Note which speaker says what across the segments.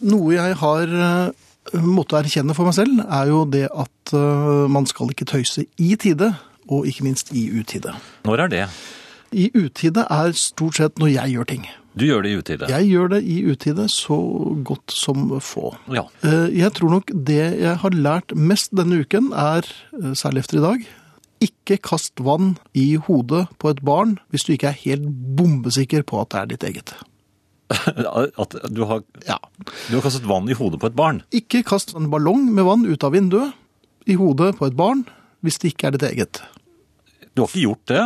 Speaker 1: Noe jeg har eh, måttet erkjenne for meg selv, er jo det at eh, man skal ikke tøyse i tide, og ikke minst i utide.
Speaker 2: Når er det?
Speaker 1: I utide er stort sett når jeg gjør ting.
Speaker 2: Du gjør det i utide.
Speaker 1: Jeg gjør det i utide så godt som få.
Speaker 2: Ja.
Speaker 1: Eh, Jeg tror nok det jeg har lært mest denne uken er, eh, særlig efter i dag, ikke kast vann i hodet på et barn hvis du ikke er helt bombesikker på at det er ditt eget.
Speaker 2: At du har,
Speaker 1: Ja.
Speaker 2: du har kastet vann i hodet på et barn.
Speaker 1: Ikke kast en ballong med vann ut av vinduet i hodet på et barn hvis det ikke er ditt eget.
Speaker 2: Du har ikke gjort det.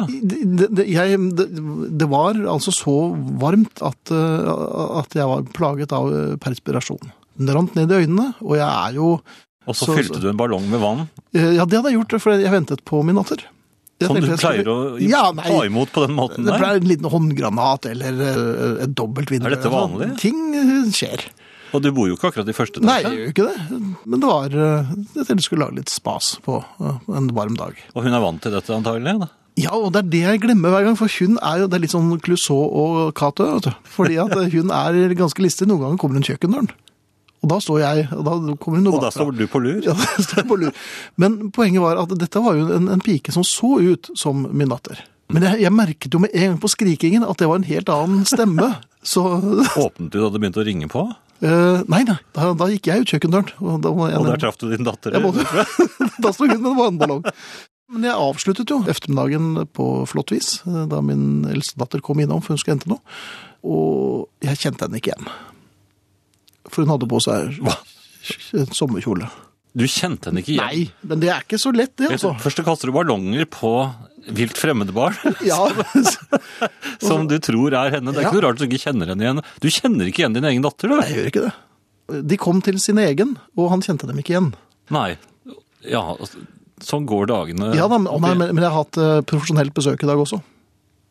Speaker 1: Det, det, jeg, det, det var altså så varmt at, eh, at jeg var plaget av eh, perspirasjon. Den rant ned i øynene, og jeg er jo
Speaker 2: Og så,
Speaker 1: Så-
Speaker 2: fylte
Speaker 1: så-
Speaker 2: du en ballong med vann,
Speaker 1: Eh, Ja, det hadde jeg gjort, for jeg ventet på min datter. Jeg
Speaker 2: som du
Speaker 1: tenkte jeg skulle-
Speaker 2: pleier å
Speaker 1: ja, nei,
Speaker 2: ta imot på den måten
Speaker 1: Det
Speaker 2: der.
Speaker 1: ble en liten håndgranat eller eh, et dobbelt vindu.
Speaker 2: Er dette vanlig?
Speaker 1: Ting eh, skjer.
Speaker 2: Og du bor jo ikke akkurat i første
Speaker 1: Nei, jeg
Speaker 2: etasje.
Speaker 1: gjør jo ikke det. Men det var eh, Jeg tenkte jeg skulle lage litt spas på eh, en varm dag.
Speaker 2: Og hun er vant til dette antagelig. Da.
Speaker 1: Ja, og det er det jeg glemmer hver gang, for hun er jo det er litt sånn Clouseau og Cato. vet du. Fordi at eh, hun er ganske listig. Noen ganger kommer hun kjøkkendøren. Og da står jeg, og da kommer hun noe
Speaker 2: Og da
Speaker 1: bakfra.
Speaker 2: står du på lur.
Speaker 1: Ja, det står på lur. Men poenget var at dette var jo en, en pike som så ut som min datter. Men jeg, jeg merket jo med en gang på skrikingen at det var en helt annen stemme. Så
Speaker 2: Åpnet du da det begynte å ringe på,
Speaker 1: eh, Nei, nei. Da, da gikk jeg ut kjøkkendøren. Og da, var jeg,
Speaker 2: og der traff du din datter.
Speaker 1: jeg måtte, da sto hun med en vannballong. Men jeg avsluttet jo ettermiddagen på flott vis, eh, da min eldste datter kom innom for hun skulle hente noe. Og jeg kjente henne ikke igjen. For hun hadde på seg en sommerkjole.
Speaker 2: Du kjente henne ikke igjen.
Speaker 1: Nei, men det er ikke så lett, det,
Speaker 2: Vet
Speaker 1: altså.
Speaker 2: du, Først så kaster du ballonger på vilt fremmede barn,
Speaker 1: Ja,
Speaker 2: som du tror er henne. Det er ikke
Speaker 1: Ja.
Speaker 2: noe rart du ikke kjenner henne igjen. Du kjenner ikke igjen din egen datter,
Speaker 1: jeg
Speaker 2: du.
Speaker 1: gjør ikke det. De kom til sin egen, og han kjente dem ikke igjen.
Speaker 2: Nei. Ja, altså, sånn går dagene.
Speaker 1: Ja da, men, å nei, men men jeg har hatt eh, profesjonelt besøk i dag også.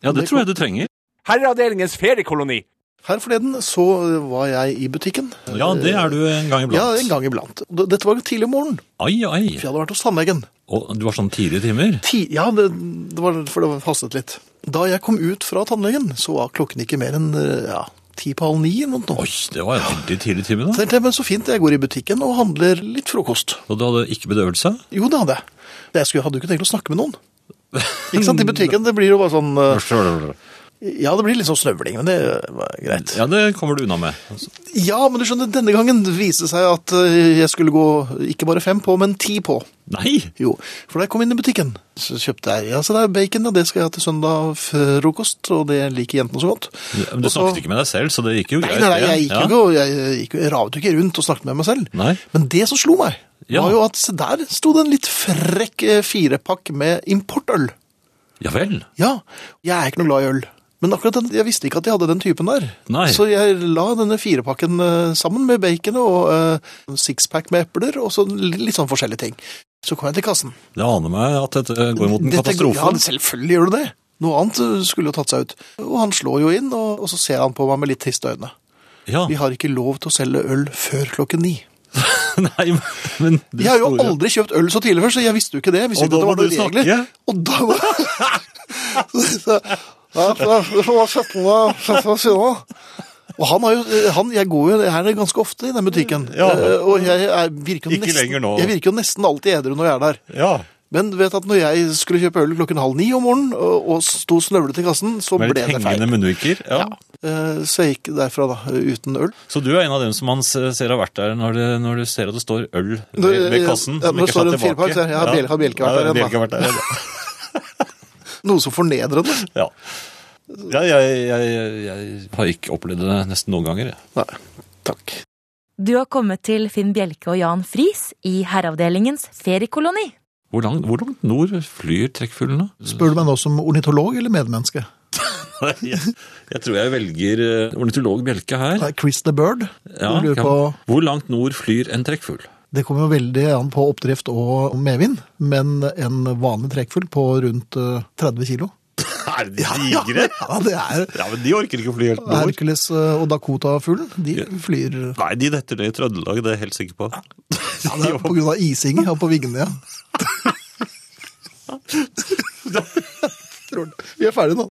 Speaker 2: Ja, det tror jeg du trenger.
Speaker 3: Herreavdelingens feriekoloni.
Speaker 1: Her forleden så var jeg i butikken.
Speaker 2: Ja, det er du en gang iblant.
Speaker 1: Ja, en gang iblant. D- Dette var tidlig om morgenen,
Speaker 2: Ai, ai.
Speaker 1: for jeg hadde vært hos tannlegen.
Speaker 2: Og du har sånn tidlige timer.
Speaker 1: Ti ja, det, det var, for det hastet litt. Da jeg kom ut fra tannlegen, så var klokken ikke mer enn eh, ja, ti på halv ni eller noe.
Speaker 2: Oi, det var en veldig tidlig time
Speaker 1: Så
Speaker 2: da.
Speaker 1: tenkte jeg, men så fint, jeg går i butikken og handler litt frokost.
Speaker 2: Og du hadde ikke bedøvelse?
Speaker 1: Jo, det hadde jeg. Jeg skulle, hadde jo ikke tenkt å snakke med noen. Ikke sant, i butikken, det blir jo bare sånn... eh, Ja, det blir litt sånn snøvling, men det var greit.
Speaker 2: Ja, det kommer du unna med. Altså,
Speaker 1: Ja, men du skjønner, denne gangen viste det seg at eh, jeg skulle gå ikke bare fem på, men ti på.
Speaker 2: Nei!
Speaker 1: Jo, for da jeg kom inn i butikken, så kjøpte jeg ja, så det er bacon, og det skal jeg ha til søndag frokost, og det liker jentene så godt.
Speaker 2: Men du snakket ikke med deg selv, så det gikk jo
Speaker 1: Nei,
Speaker 2: greit.
Speaker 1: nei, nei, jeg
Speaker 2: det.
Speaker 1: gikk jo ikke, og jeg, gikk, jo- jeg ravet jo ikke rundt og snakket med meg selv.
Speaker 2: Nei.
Speaker 1: Men det som slo meg,
Speaker 2: Ja.
Speaker 1: var jo at se der sto det en litt frekk eh, firepakk med importøl.
Speaker 2: Ja vel.
Speaker 1: Ja, jeg er ikke noe glad i øl. Men akkurat den, jeg visste ikke at de hadde den typen der.
Speaker 2: Nei.
Speaker 1: Så jeg la denne firepakken eh, sammen med bacon og eh, sixpack med epler, og så li- litt sånn forskjellige ting. Så kom jeg til kassen.
Speaker 2: Det aner meg at dette går mot en
Speaker 1: Dette-
Speaker 2: katastrofe.
Speaker 1: Ja, selvfølgelig gjør du det. Noe annet eh, skulle jo tatt seg ut. Og han slår jo inn, og, og så ser han på meg med litt triste øyne.
Speaker 2: Ja,
Speaker 1: Vi har ikke lov til å selge øl før klokken ni.
Speaker 2: nei, men du
Speaker 1: Jeg har jo
Speaker 2: store-
Speaker 1: aldri kjøpt øl så tidlig før, så jeg visste jo ikke det. Jeg visste
Speaker 2: Og
Speaker 1: ikke
Speaker 2: da
Speaker 1: at det
Speaker 2: må
Speaker 1: var
Speaker 2: du
Speaker 1: noen regler.
Speaker 2: snakke.
Speaker 1: Og da må Så- så- ja, så- så var 17. 17. siden. Og han har jo, han, jeg går jo her ganske ofte i den butikken.
Speaker 2: Ja.
Speaker 1: Eh, Og jeg, er- virker jo
Speaker 2: Ikke lenger
Speaker 1: nesten,
Speaker 2: nå.
Speaker 1: jeg virker jo nesten alltid edru når jeg er der.
Speaker 2: Ja,
Speaker 1: Men vet at når jeg skulle kjøpe øl klokken halv ni om morgenen, og, og sto snøvlet i kassen, så ble
Speaker 2: med litt
Speaker 1: det feil.
Speaker 2: hengende munnviker. Ja.
Speaker 1: Eh, Så jeg gikk derfra da, uten øl.
Speaker 2: Så du er en av dem som man se- ser har vært der når, det, når du ser at det står øl ved, ved kassen
Speaker 1: Ja, når det
Speaker 2: som ikke er
Speaker 1: står en
Speaker 2: satt tilbake.
Speaker 1: firepakk, så er det, ja, Bjelke- har Bjelke vært der
Speaker 2: ja,
Speaker 1: igjen, da?
Speaker 2: Bjelke har vært der igjen, da.
Speaker 1: Noe så fornedrende.
Speaker 2: Ja. Ja, jeg, jeg, jeg, jeg har ikke opplevd det nesten noen ganger. jeg.
Speaker 1: Nei, takk.
Speaker 4: Du har kommet til Finn Bjelke og Jan Friis i Herreavdelingens feriekoloni.
Speaker 2: Hvor langt, hvor langt nord flyr trekkfuglene?
Speaker 1: Spør du meg nå som ornitolog eller medmenneske?
Speaker 2: jeg, jeg tror jeg velger eh, ornitolog Bjelke her.
Speaker 1: Nei, Chris the Bird.
Speaker 2: Ja,
Speaker 1: du lurer
Speaker 2: ja.
Speaker 1: på,
Speaker 2: Hvor langt nord flyr en trekkfugl?
Speaker 1: det kommer jo veldig an på oppdrift og medvind, men en vanlig trekkfugl på rundt eh, 30 kilo.
Speaker 2: Er de
Speaker 1: Ja, ja, det er
Speaker 2: Ja, men de orker ikke å fly helt
Speaker 1: Hercules eh, og Dakota-fuglen. De flyr ja,
Speaker 2: Nei, de detter ned i Trøndelag, det er jeg helt sikker på.
Speaker 1: det er på grunn av ising her på vingene, ja. Tror du- Vi er ferdige nå.